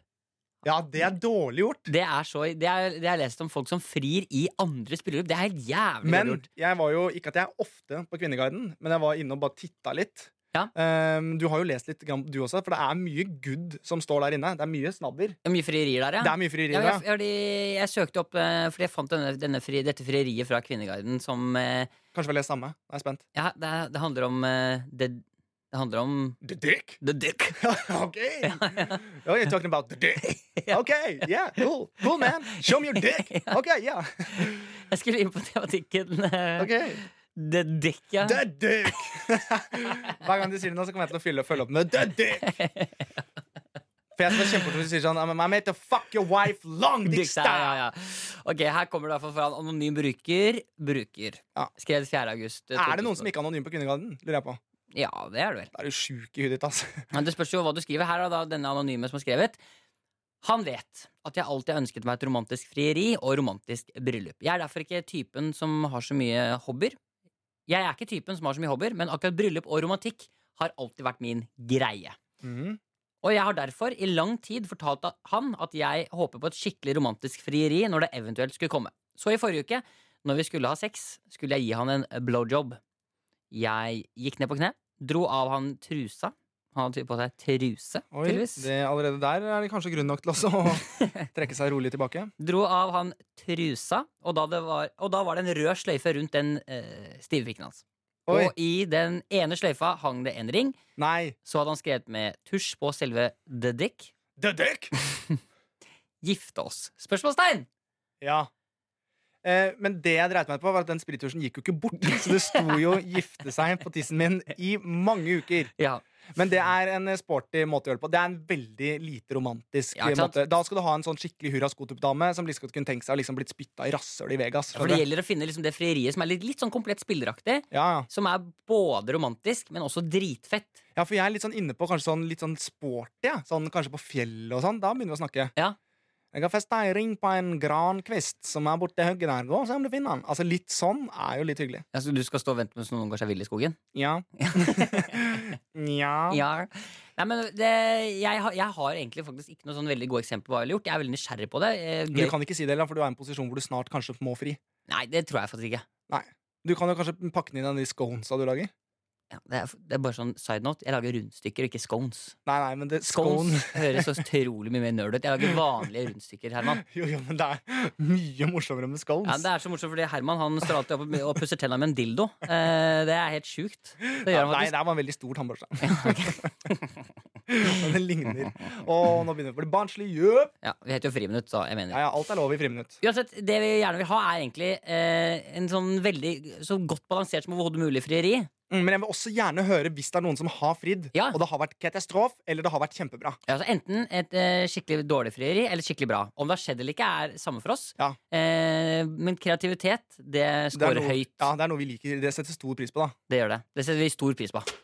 S2: Ja, det er dårlig gjort.
S1: Det er så Det er- det har jeg lest om folk som frir i andres bryllup. Det er helt jævlig
S2: Men
S1: dårlig gjort.
S2: jeg var jo ikke at jeg er ofte på Kvinneguiden, men jeg var inne og bare titta litt.
S1: Ja.
S2: Ehm, du har jo lest litt, grann, du også, for det er mye good som står der inne. Det er mye snadder.
S1: Det er mye frierier der, ja.
S2: Det er mye frieri.
S1: Ja,
S2: Ja,
S1: jeg, jeg, jeg, jeg søkte opp eh, fordi jeg fant denne, denne fri, dette frieriet fra Kvinneguiden som eh,
S2: Kanskje vi har lest samme. Nå er jeg spent.
S1: ja, det, det handler om eh, det, Det handler om
S2: The dick?
S1: the dick.
S2: ok. Oh, you're talking about the dick. Ok, yeah, cool. Cool, man. Show me your dick. Ok, yeah.
S1: Jeg skulle inn på tematikken. eh,
S2: Ok.
S1: The dick, ja.
S2: The dick! Hver gang du sier det nå, så kommer jeg til å fylle, følge opp med The dick! For jeg skal være kjempefort hvis du sier sånn I'm I'm here to fuck your wife long dick
S1: Dick, ja,
S2: style!
S1: ja, ja. Ok, Her kommer det i hvert fall fra en anonym bruker. Bruker.
S2: Ja.
S1: Skrevet 4. august. eh,
S2: Er det noen som
S1: 2000.
S2: ikke er anonym på Kvinnegarden? Lurer jeg på.
S1: Ja, det er det vel.
S2: Da er du sjuk i huet ditt, altså. ass.
S1: Men det spørs jo hva du skriver. Her er da denne anonyme som har skrevet. Han vet at jeg alltid har ønsket meg et romantisk frieri og romantisk bryllup. Jeg er derfor ikke typen som har så mye hobbyer. Jeg er ikke typen som har så mye hobbyer, men akkurat bryllup og romantikk har alltid vært min greie.
S2: Mhm.
S1: Og jeg har derfor i lang tid fortalt at- han at jeg håper på et skikkelig romantisk frieri når det eventuelt skulle komme. Så i forrige uke, når vi skulle ha sex, skulle jeg gi han en blowjob. Jeg gikk ned på kne, dro av han trusa. Han hadde på seg truse,
S2: Oi,
S1: tydeligvis.
S2: det, allerede der er det kanskje grunn nok til også å trekke seg rolig tilbake.
S1: Dro av han trusa, og da, det var, og da var det en rød sløyfe rundt den eh, stive pikken hans.
S2: Oi,
S1: Og i den ene sløyfa hang det en ring.
S2: nei!
S1: Så hadde han skrevet med tusj på selve the dick.
S2: The dick!
S1: Gifte oss? Spørsmålstegn!
S2: Ja. Eh, men det jeg dreit meg på, var at den sprittusjen gikk jo ikke bort. Så det sto jo 'gifte seg' på tissen min i mange uker.
S1: Ja,
S2: Men det er en eh, sporty måte å gjøre det på. Det er en veldig lite romantisk
S1: Ja,
S2: eh,
S1: ikke sant?
S2: måte. Da skal du ha en sånn skikkelig hurra skotub-dame som liksom kunne tenkt seg å liksom blitt spytta i rasshøl i Vegas.
S1: Ja, for det gjelder å finne liksom det frieriet som er litt, litt sånn komplett spilleraktig.
S2: Ja, ja.
S1: Som er både romantisk, men også dritfett.
S2: ja, for jeg er litt sånn inne på kanskje sånn litt sånn sporty. Ja. Sånn kanskje på fjellet og sånn. Da begynner vi å snakke.
S1: Ja.
S2: Jeg har festa ei ring på en grankvist som er borti høgget der. Gå og se om du finner den. Altså Litt sånn er jo litt hyggelig.
S1: Altså, du skal stå og vente mens noen går seg vill i skogen?
S2: Ja. Nja.
S1: Ja. Nei, men det, jeg, har, jeg har egentlig faktisk ikke noe sånn veldig godt eksempel på hva jeg har gjort. Jeg er veldig nysgjerrig på det. Eh,
S2: Men Du
S1: Gøy.
S2: kan ikke si det, Ella, for du er i en posisjon hvor du snart kanskje må fri.
S1: Nei, det tror jeg faktisk ikke.
S2: Du kan jo kanskje pakke den inn i de sconesa du lager.
S1: Ja, det, er, det er bare sånn side note. Jeg lager rundstykker og ikke scones.
S2: Nei, nei, men det,
S1: Scones
S2: scone
S1: høres så utrolig mye mer nerd ut. Jeg lager vanlige rundstykker, Herman.
S2: Jo, jo, men det er mye morsommere med scones.
S1: Ja, det er så morsomt, fordi Herman han står alltid opp og pusser tenna med en dildo. Eh, det er helt sjukt. Det gjør han
S2: Nei,
S1: faktisk.
S2: der var en veldig stor tannbørste. men den ligner. Å, nå begynner vi å bli barnslig. Jøp!
S1: Ja, vi heter jo Friminutt, så jeg mener
S2: Ja, ja, alt er lov i friminutt.
S1: Uansett, det vi gjerne vil ha, er egentlig eh, en sånn veldig så godt balansert som overhodet mulig frieri.
S2: Mm, Men jeg vil også gjerne høre hvis det er noen som har fridd,
S1: Ja.
S2: og det har vært katastrof, eller det har vært kjempebra.
S1: Ja, Altså Enten et eh, skikkelig dårlig frieri eller skikkelig bra. Om det har skjedd eller ikke, er samme for oss.
S2: Ja.
S1: Eh, men kreativitet, det
S2: Det er
S1: scorer
S2: noe,
S1: høyt.
S2: ja, det er noe vi liker. Det setter stor pris på, da.
S1: Det gjør det. Det setter vi stor pris på.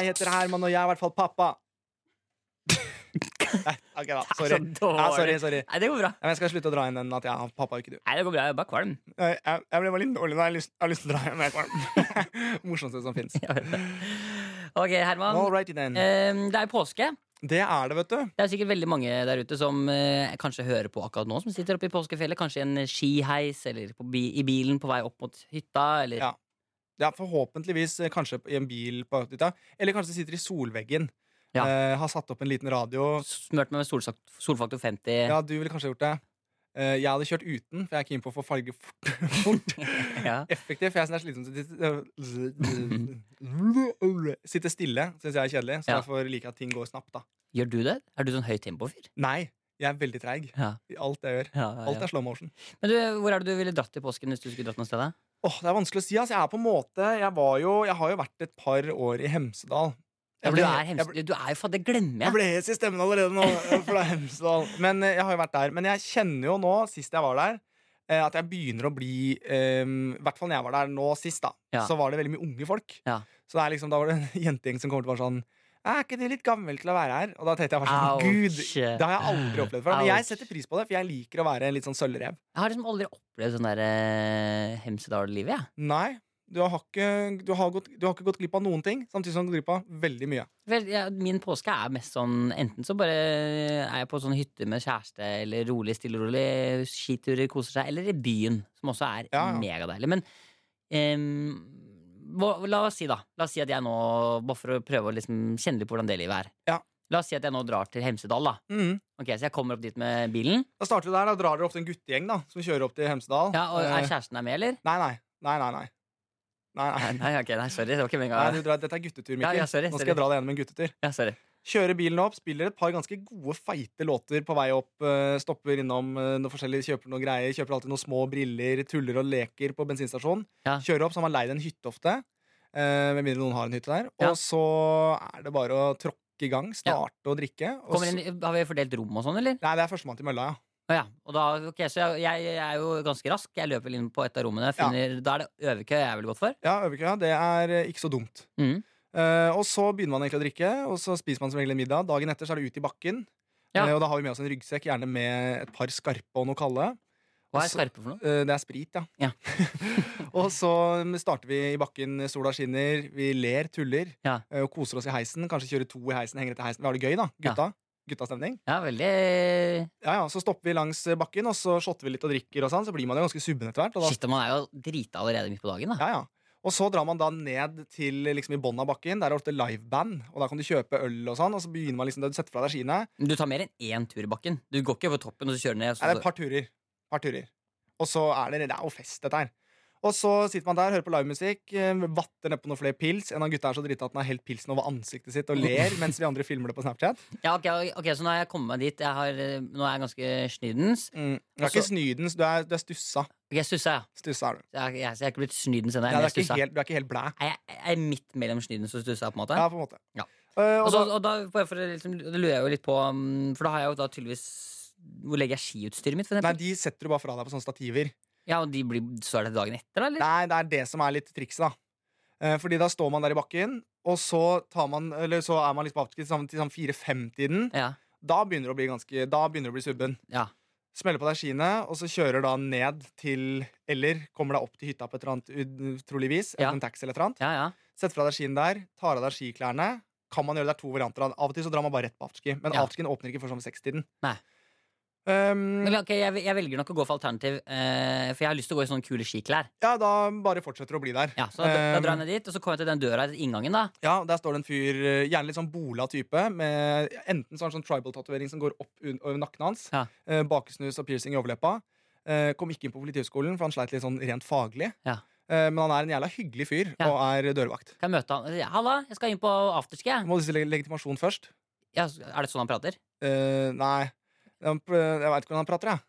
S2: Jeg heter Herman, og jeg er i hvert fall pappa. Nei, ok, da. Sorry.
S1: Det er sånn- så
S2: Ja,
S1: dårlig.
S2: sorry, sorry.
S1: Nei, det går bra.
S2: Ja, men Jeg skal slutte å dra inn den at jeg har pappa og ikke du.
S1: Nei, det går bra. Jeg er bare kvalm.
S2: Jeg, jeg, jeg ble bare litt dårlig nå. Jeg har lyst, jeg har lyst til å dra hjem. Jeg er kvalm. Morsomste som fins.
S1: Jeg vet det. Ok, Herman.
S2: All righty then.
S1: Um, Eh, det er jo påske.
S2: Det er det, vet du.
S1: Det er sikkert veldig mange der ute som eh, kanskje hører på akkurat nå, som sitter oppe i påskefjellet. Kanskje i en skiheis eller på bi i bilen på vei opp mot hytta. Eller...
S2: Ja. Ja, Forhåpentligvis eh, kanskje i en bil på hytta. Eller kanskje sitter i solveggen.
S1: Ja.
S2: Eh, har satt opp en liten radio.
S1: Smørt meg med solsak- solfaktor 50.
S2: Ja, du ville kanskje gjort det. Eh, jeg hadde kjørt uten, for jeg er keen på å få farge fort. fort.
S1: Ja.
S2: Effektiv, for jeg syns det er sånn slitsomt å sitte Sitte stille syns jeg er kjedelig, så
S1: Ja.
S2: jeg får like at ting går snapt, da.
S1: Gjør du det? Er du sånn høy tempo-fyr?
S2: Nei, jeg er veldig treig
S1: Ja.
S2: i alt jeg gjør. Alt er sånn. slow motion.
S1: Men du, hvor er det du ville dratt i påsken hvis du skulle dratt noe sted? da?
S2: Åh, Det er vanskelig å si. ass. Jeg er på en måte Jeg, var jo, jeg har jo vært et par år i Hemsedal.
S1: Ja,
S2: Jeg
S1: for
S2: ble-
S1: du er
S2: jeg ble-
S1: hemselig. Du er jo faen, det glemmer
S2: Jeg
S1: jeg.
S2: ble hes i stemmen allerede nå. For det er Hemsedal. Men eh, jeg har jo vært der. Men jeg kjenner jo nå, sist jeg var der, eh, at jeg begynner å bli eh, I hvert fall når jeg var der nå sist, da,
S1: Ja.
S2: så var det veldig mye unge folk.
S1: Ja.
S2: Så det er liksom, da var det en jentegjeng som kom til å være sånn Er ikke du litt gammel til å være her? Og da tenkte jeg bare sånn Gud,
S1: Ouch.
S2: det har jeg aldri opplevd før. Men
S1: Ouch.
S2: jeg setter pris på det, for jeg liker å være en litt sånn sølvrev.
S1: Jeg har liksom aldri opplevd sånn der eh, Hemsedal-livet, jeg.
S2: Nei, du har, ikke, du, har gått, du har ikke gått glipp av noen ting, samtidig som du har gått glipp av veldig mye.
S1: Vel, ja, Min påske er mest sånn Enten så bare er jeg på sånn hytte med kjæreste, eller rolig, stille og rolig, skiturer, koser seg, eller i byen, som også er
S2: Ja, ja.
S1: megadeilig. Men em, hva- la oss si, da. La oss si at jeg nå, bare for å prøve å liksom kjenne litt på hvordan det livet er
S2: Ja.
S1: La oss si at jeg nå drar til Hemsedal, da.
S2: Mhm.
S1: Ok, Så jeg kommer opp dit med bilen.
S2: Da starter vi der, da drar dere ofte en guttegjeng da, som kjører opp til Hemsedal.
S1: Ja, og Er
S2: Eh,
S1: kjæresten der med, eller?
S2: Nei, nei. nei, nei, nei. Nei, nei.
S1: Nei, ok, nei, sorry. Det var ikke
S2: nei du
S1: meninga.
S2: drar, dette er guttetur, Mikkel.
S1: Ja, ja, sorry,
S2: Nå skal
S1: sorry.
S2: jeg dra deg gjennom en guttetur.
S1: Ja, sorry.
S2: Kjører bilen opp, spiller et par ganske gode, feite låter på vei opp. eh, Stopper innom eh, noe forskjellig, kjøper noe greier. Kjøper alltid noen små briller, tuller og leker på bensinstasjonen.
S1: Ja.
S2: Kjører opp, så har man leid en hytte ofte. eh, Med mindre noen har en hytte der.
S1: Ja.
S2: Og så er det bare å tråkke i gang, starte å drikke. Og
S1: Kommer
S2: så,
S1: inn, har vi fordelt rom og sånn, eller?
S2: nei, det er førstemann til mølla, ja.
S1: Å ja. Og da, ok, så jeg, jeg er jo ganske rask. Jeg løper inn på et av rommene. Finner, Da er det øverkø jeg er vel godt for.
S2: Ja, Øverkøya. Det er eh, ikke så dumt.
S1: Mhm.
S2: Eh, og så begynner man egentlig å drikke, og så spiser man som regel en middag. Dagen etter så er det ut i bakken.
S1: Ja.
S2: Eh, og da har vi med oss en ryggsekk, gjerne med et par skarpe og noe kalde.
S1: Hva er
S2: Altså-
S1: skarpe for noe?
S2: Eh, det er sprit, ja.
S1: Ja.
S2: og så mm, starter vi i bakken, sola skinner, vi ler, tuller
S1: Ja.
S2: eh, og koser oss i heisen. Kanskje kjører to i heisen, henger etter heisen. Vi har det gøy, da. Gutta. Guttastemning.
S1: Ja, veldig
S2: Ja, ja, så stopper vi langs eh, bakken, og så shotter vi litt og drikker, og sånn. Så blir man jo ganske subben etter hvert. Og da
S1: Shit, man er jo drita allerede midt på dagen, da.
S2: Ja, ja. Og så drar man da ned til liksom, i bånn av bakken. Der er det ofte liveband. Og da kan du kjøpe øl og sånn. Og så begynner man liksom, du setter fra deg skiene.
S1: Men Du tar mer enn én tur i bakken. Du går ikke over toppen og så kjører ned. og
S2: Nei, det er
S1: Så,
S2: et par turer. Par turer. Og så er det, det er jo fest, dette her. Og så sitter man der, hører på livemusikk, eh, vatter nedpå noen flere pils. En av gutta er så drita at han har helt pilsen over ansiktet sitt og ler mens vi andre filmer det på Snapchat.
S1: ja, ok, ok, så nå er jeg kommet meg dit. Jeg har, eh, nå er jeg ganske snydens.
S2: Mm. Du er
S1: Og så-
S2: ikke snydens, du er, du er stussa.
S1: Ok, jeg stussa, ja.
S2: Stussa er du.
S1: Jeg, jeg, jeg er ikke blitt snydens ennå.
S2: Ja, du, er
S1: men jeg
S2: ikke
S1: stussa.
S2: helt, du er ikke helt blæ.
S1: Jeg, jeg er midt mellom snydens og stussa, på en måte.
S2: Ja, på en måte.
S1: Ja.
S2: Eh, og
S1: Og, så,
S2: da,
S1: og da, bare for, å liksom, det lurer jeg jo litt på mm, For da har jeg jo da tydeligvis Hvor legger jeg skiutstyret mitt? For
S2: nei,
S1: eksempel?
S2: de setter du bare fra deg på sånne stativer.
S1: ja, og de blir, Så er det dagen etter, da? Eller?
S2: Nei, det er det som er litt trikset, da. Eh, Fordi da står man der i bakken, og så, tar man, eller så er man litt på avtid til sånn 4-5-tiden.
S1: Ja,
S2: Da begynner det å bli ganske, da begynner det å bli subben.
S1: ja.
S2: Smeller på deg skiene, og så kjører da ned til Eller kommer deg opp til hytta på et eller annet utroligvis.
S1: Ja.
S2: Ja. En taxi eller et eller annet.
S1: ja, ja.
S2: Setter fra deg skien der, tar av deg skiklærne. Kan man gjøre Det er to varianter av det. Av og til så drar man bare rett på afterski, men
S1: Ja.
S2: afterskien åpner ikke før sånn sekstiden.
S1: Nei.
S2: Um,
S1: Men ok, jeg, jeg velger nok å gå for alternativ, eh, for jeg har lyst til å gå i sånne kule skiklær.
S2: ja, da bare fortsetter å bli der.
S1: Ja, så da, da
S2: Um,
S1: drar jeg ned dit, og så kommer jeg til den døra i inngangen, da.
S2: Ja, og Der står det en fyr, eh, gjerne litt sånn bola type. Med enten sånn, sånn tribal-tatovering som går opp un- over nakken hans.
S1: Ja.
S2: eh, Bakesnus og piercing i overleppa. Eh, Kom ikke inn på Politihøgskolen, for han sleit litt sånn rent faglig.
S1: Ja.
S2: Eh, Men han er en jævla hyggelig fyr,
S1: Ja.
S2: og er dørvakt.
S1: Kan jeg møte han? Ja, Halla, jeg skal inn på afterski. jeg.
S2: Må du si leg- legitimasjon først?
S1: Ja, så- er det sånn han prater?
S2: Eh, nei. Han pr- Jeg veit ikke hvordan han prater, jeg.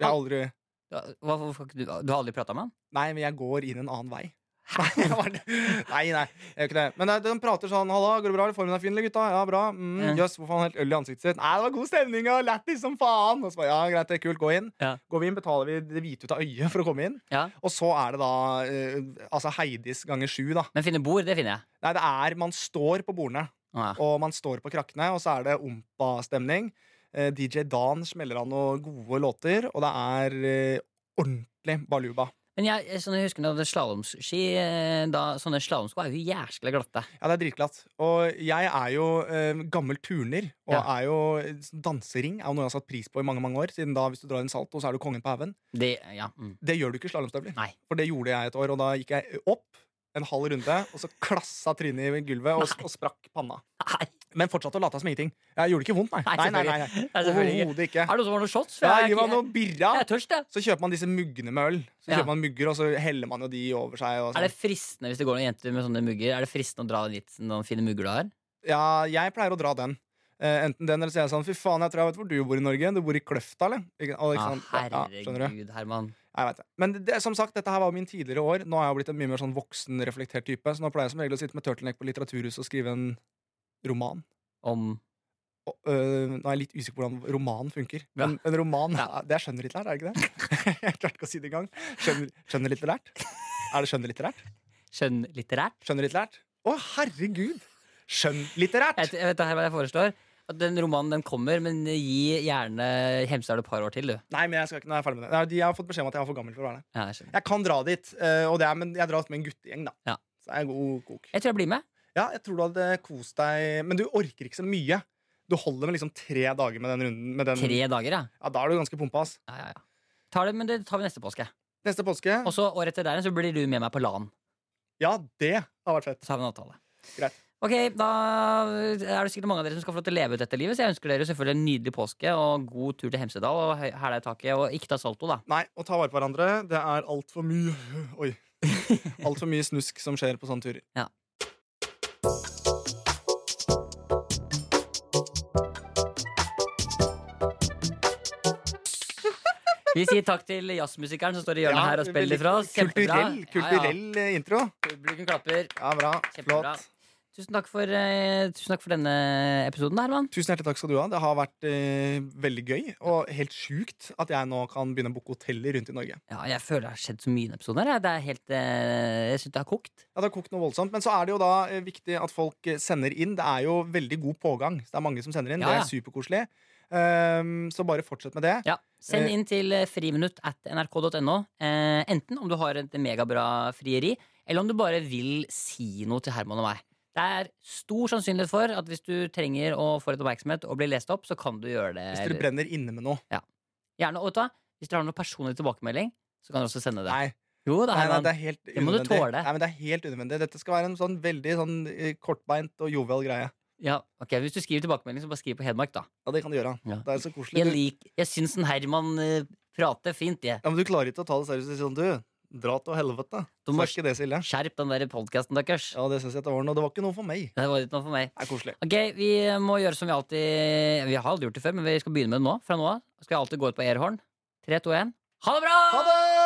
S2: Jeg har aldri
S1: Ja, Hva, hvorfor har ikke du, du har aldri prata med han?
S2: Nei, men jeg går inn en annen vei. Nei, det var det. nei, nei, jeg gjør ikke det. Men det- de prater sånn 'Halla, går det bra? Formen er fin, eller, gutta?' 'Ja, bra.' Mm, 'Jøss,
S1: Ja.
S2: hvorfor har han helt øl i ansiktet sitt?' 'Nei, det var god stemning og lættis som faen.' Og så bare, ja, greit, det er kult, gå inn.
S1: Ja.
S2: Går vi inn, betaler vi det hvite ut av øyet for å komme inn.
S1: Ja.
S2: Og så er det da eh, altså Heidis ganger sju, da.
S1: Men finne bord, det finner jeg.
S2: Nei, det er Man står på bordene,
S1: Å, ja.
S2: og man står på krakkene, og så er det ompa-stemning. Eh, DJ Dan smeller av noen gode låter, og det er eh, ordentlig baluba.
S1: Men jeg, jeg, sånn, jeg husker når jeg hadde slalåmski, eh, da, sånne slalåmsko er jo jæskla glatte.
S2: Ja, det er dritglatt. Og jeg er jo eh, gammel turner, og
S1: Ja.
S2: er jo eh, dansering er jo noe jeg har satt pris på i mange mange år. Siden da, hvis du drar en salto, så er du kongen på haugen.
S1: Det, ja, mm.
S2: Det gjør du ikke i slalåmstøvler.
S1: Nei.
S2: For det gjorde jeg et år, og da gikk jeg opp en halv runde, og så klassa trynet i gulvet og, og sprakk panna.
S1: Nei,
S2: Men fortsatte å late som ingenting. Jeg gjorde ikke vondt, nei. nei, nei, nei, nei.
S1: selvfølgelig. Nei, selvfølgelig ikke.
S2: Overhodet ikke.
S1: Er det noen som har noen shots? For
S2: Ja,
S1: jeg,
S2: gi
S1: er
S2: meg
S1: ikke-
S2: noe birra.
S1: jeg er tørst, jeg.
S2: Så kjøper man disse muggene med øl. Så
S1: Ja.
S2: kjøper man mugger, og så heller man jo de over seg. Og
S1: Er
S2: sånn.
S1: det fristende hvis det går noen jenter med sånne mugger? Er det fristende å dra dit noen fine mugger du har?
S2: Ja, jeg pleier å dra den. Eh, enten den, eller så er jeg sånn Fy faen, jeg tror jeg vet hvor du bor i Norge. Du bor i Kløfta, eller? Ikke, og ikke
S1: Ja,
S2: sant? Ja, skjønner du?
S1: Ah, herregud, Herman.
S2: Jeg vet det. Men det, som sagt, dette her var jo min tidligere år. Nå har jeg blitt en mye mer sånn voksen, reflektert type. Så nå pleier jeg som regel å sitte med turtleneck på Litteraturhuset og skrive en roman.
S1: Om
S2: Og, øh, nå er jeg litt usikker på hvordan roman funker. Men en roman
S1: Ja.
S2: Det er skjønnlitterært, er det ikke det? jeg klarte ikke å si det engang. Skjønner- Skjønnlitterært? Er det skjønnlitterært?
S1: skjønnlitterært?
S2: Skjønnlitterært? Å, herregud! Skjønnlitterært!
S1: Jeg, vet- jeg vet her hva jeg foreslår. At den romanen den kommer, men gi gjerne Hemsedal et par år til, du.
S2: Nei, men jeg skal ikke, nå er jeg ferdig med det. Nei, de- Jeg har fått beskjed om at jeg er for gammel for å være der.
S1: Ja, jeg, skjønner.
S2: Jeg kan dra dit, eh, og det er, men jeg drar med en guttegjeng, da.
S1: Ja.
S2: Så jeg er god kok.
S1: jeg tror jeg blir med.
S2: Ja, jeg tror du hadde kost deg, men du orker ikke så mye. Du holder med liksom tre dager med den runden. Med den,
S1: Tre dager, ja.
S2: Ja, da er du ganske pumpa, ass.
S1: ja, ja, ja. Tar det, men det tar vi neste påske.
S2: Neste påske,
S1: Og så året etter der igjen så blir du med meg på LAN.
S2: ja, det har vært fett.
S1: Så har vi en avtale.
S2: Greit.
S1: Ok, Da er det sikkert mange av dere som skal få lov til å leve ut dette livet, så jeg ønsker dere selvfølgelig en nydelig påske og god tur til Hemsedal og hæla i taket, og ikke ta salto, da.
S2: Nei, å ta vare på hverandre, det er altfor mye Oi. Altfor mye snusk som skjer på sånne turer.
S1: Ja. Vi sier takk til jazzmusikeren som står i hjørnet
S2: Ja,
S1: her og spiller
S2: veldig
S1: litt fra oss. Kjempebra.
S2: Kulturell, kulturell eh, intro.
S1: Ja, ja. Publikum klapper.
S2: Ja, bra.
S1: Kjempebra.
S2: Flott.
S1: Tusen takk for, eh, tusen takk for denne episoden, Herman.
S2: Tusen hjertelig takk skal du ha. Det har vært eh, veldig gøy og helt sjukt at jeg nå kan begynne å booke hoteller rundt i Norge.
S1: Ja, jeg føler det har skjedd så mye i denne episoden. her jeg. Det er helt, eh, jeg syns det har kokt.
S2: Ja, det har kokt noe voldsomt, Men så er det jo da eh, viktig at folk eh, sender inn. Det er jo veldig god pågang. Så det er mange som sender inn.
S1: Ja,
S2: Det er superkoselig. Ehm, så bare fortsett med det.
S1: Ja, Send
S2: Eh.
S1: inn til eh, friminutt at nrk.no. Eh, enten om du har et megabra frieri, eller om du bare vil si noe til Herman og meg. Det er stor sannsynlighet for at hvis du trenger å få litt oppmerksomhet og bli lest opp, så kan du gjøre det.
S2: Hvis dere brenner inne med noe.
S1: Gjerne, og vet du hva? Hvis dere har noen personlig tilbakemelding, så kan dere også sende det.
S2: Nei,
S1: Jo, det
S2: nei, nei,
S1: er Herman.
S2: det er helt
S1: Det må du
S2: unødvendig.
S1: tåle.
S2: Nei, men det er helt unødvendig. Dette skal være en sånn veldig sånn eh, kortbeint og jovial greie.
S1: Ja, ok, Hvis du skriver tilbakemelding, så bare skriv på Hedmark, da.
S2: Ja, det kan du gjøre.
S1: Ja.
S2: Det er så koselig.
S1: Jeg,
S2: Du,
S1: lik, jeg syns en Herman eh, prater fint, jeg.
S2: ja, men du klarer ikke å ta det seriøst og si sånn, du, dra til helvete.
S1: Du
S2: Så
S1: må
S2: er ikke det så ille.
S1: skjerpe den der podkasten deres.
S2: Ja, det synes jeg det var noe. Det var ikke noe for meg.
S1: Det var ikke noe for meg.
S2: Det er koselig.
S1: Ok, Vi må gjøre som vi alltid Vi har aldri gjort det før, men vi skal begynne med det nå. Fra nå av skal jeg alltid gå ut på airhorn. Tre, to, én. Ha det bra!
S2: Ha det!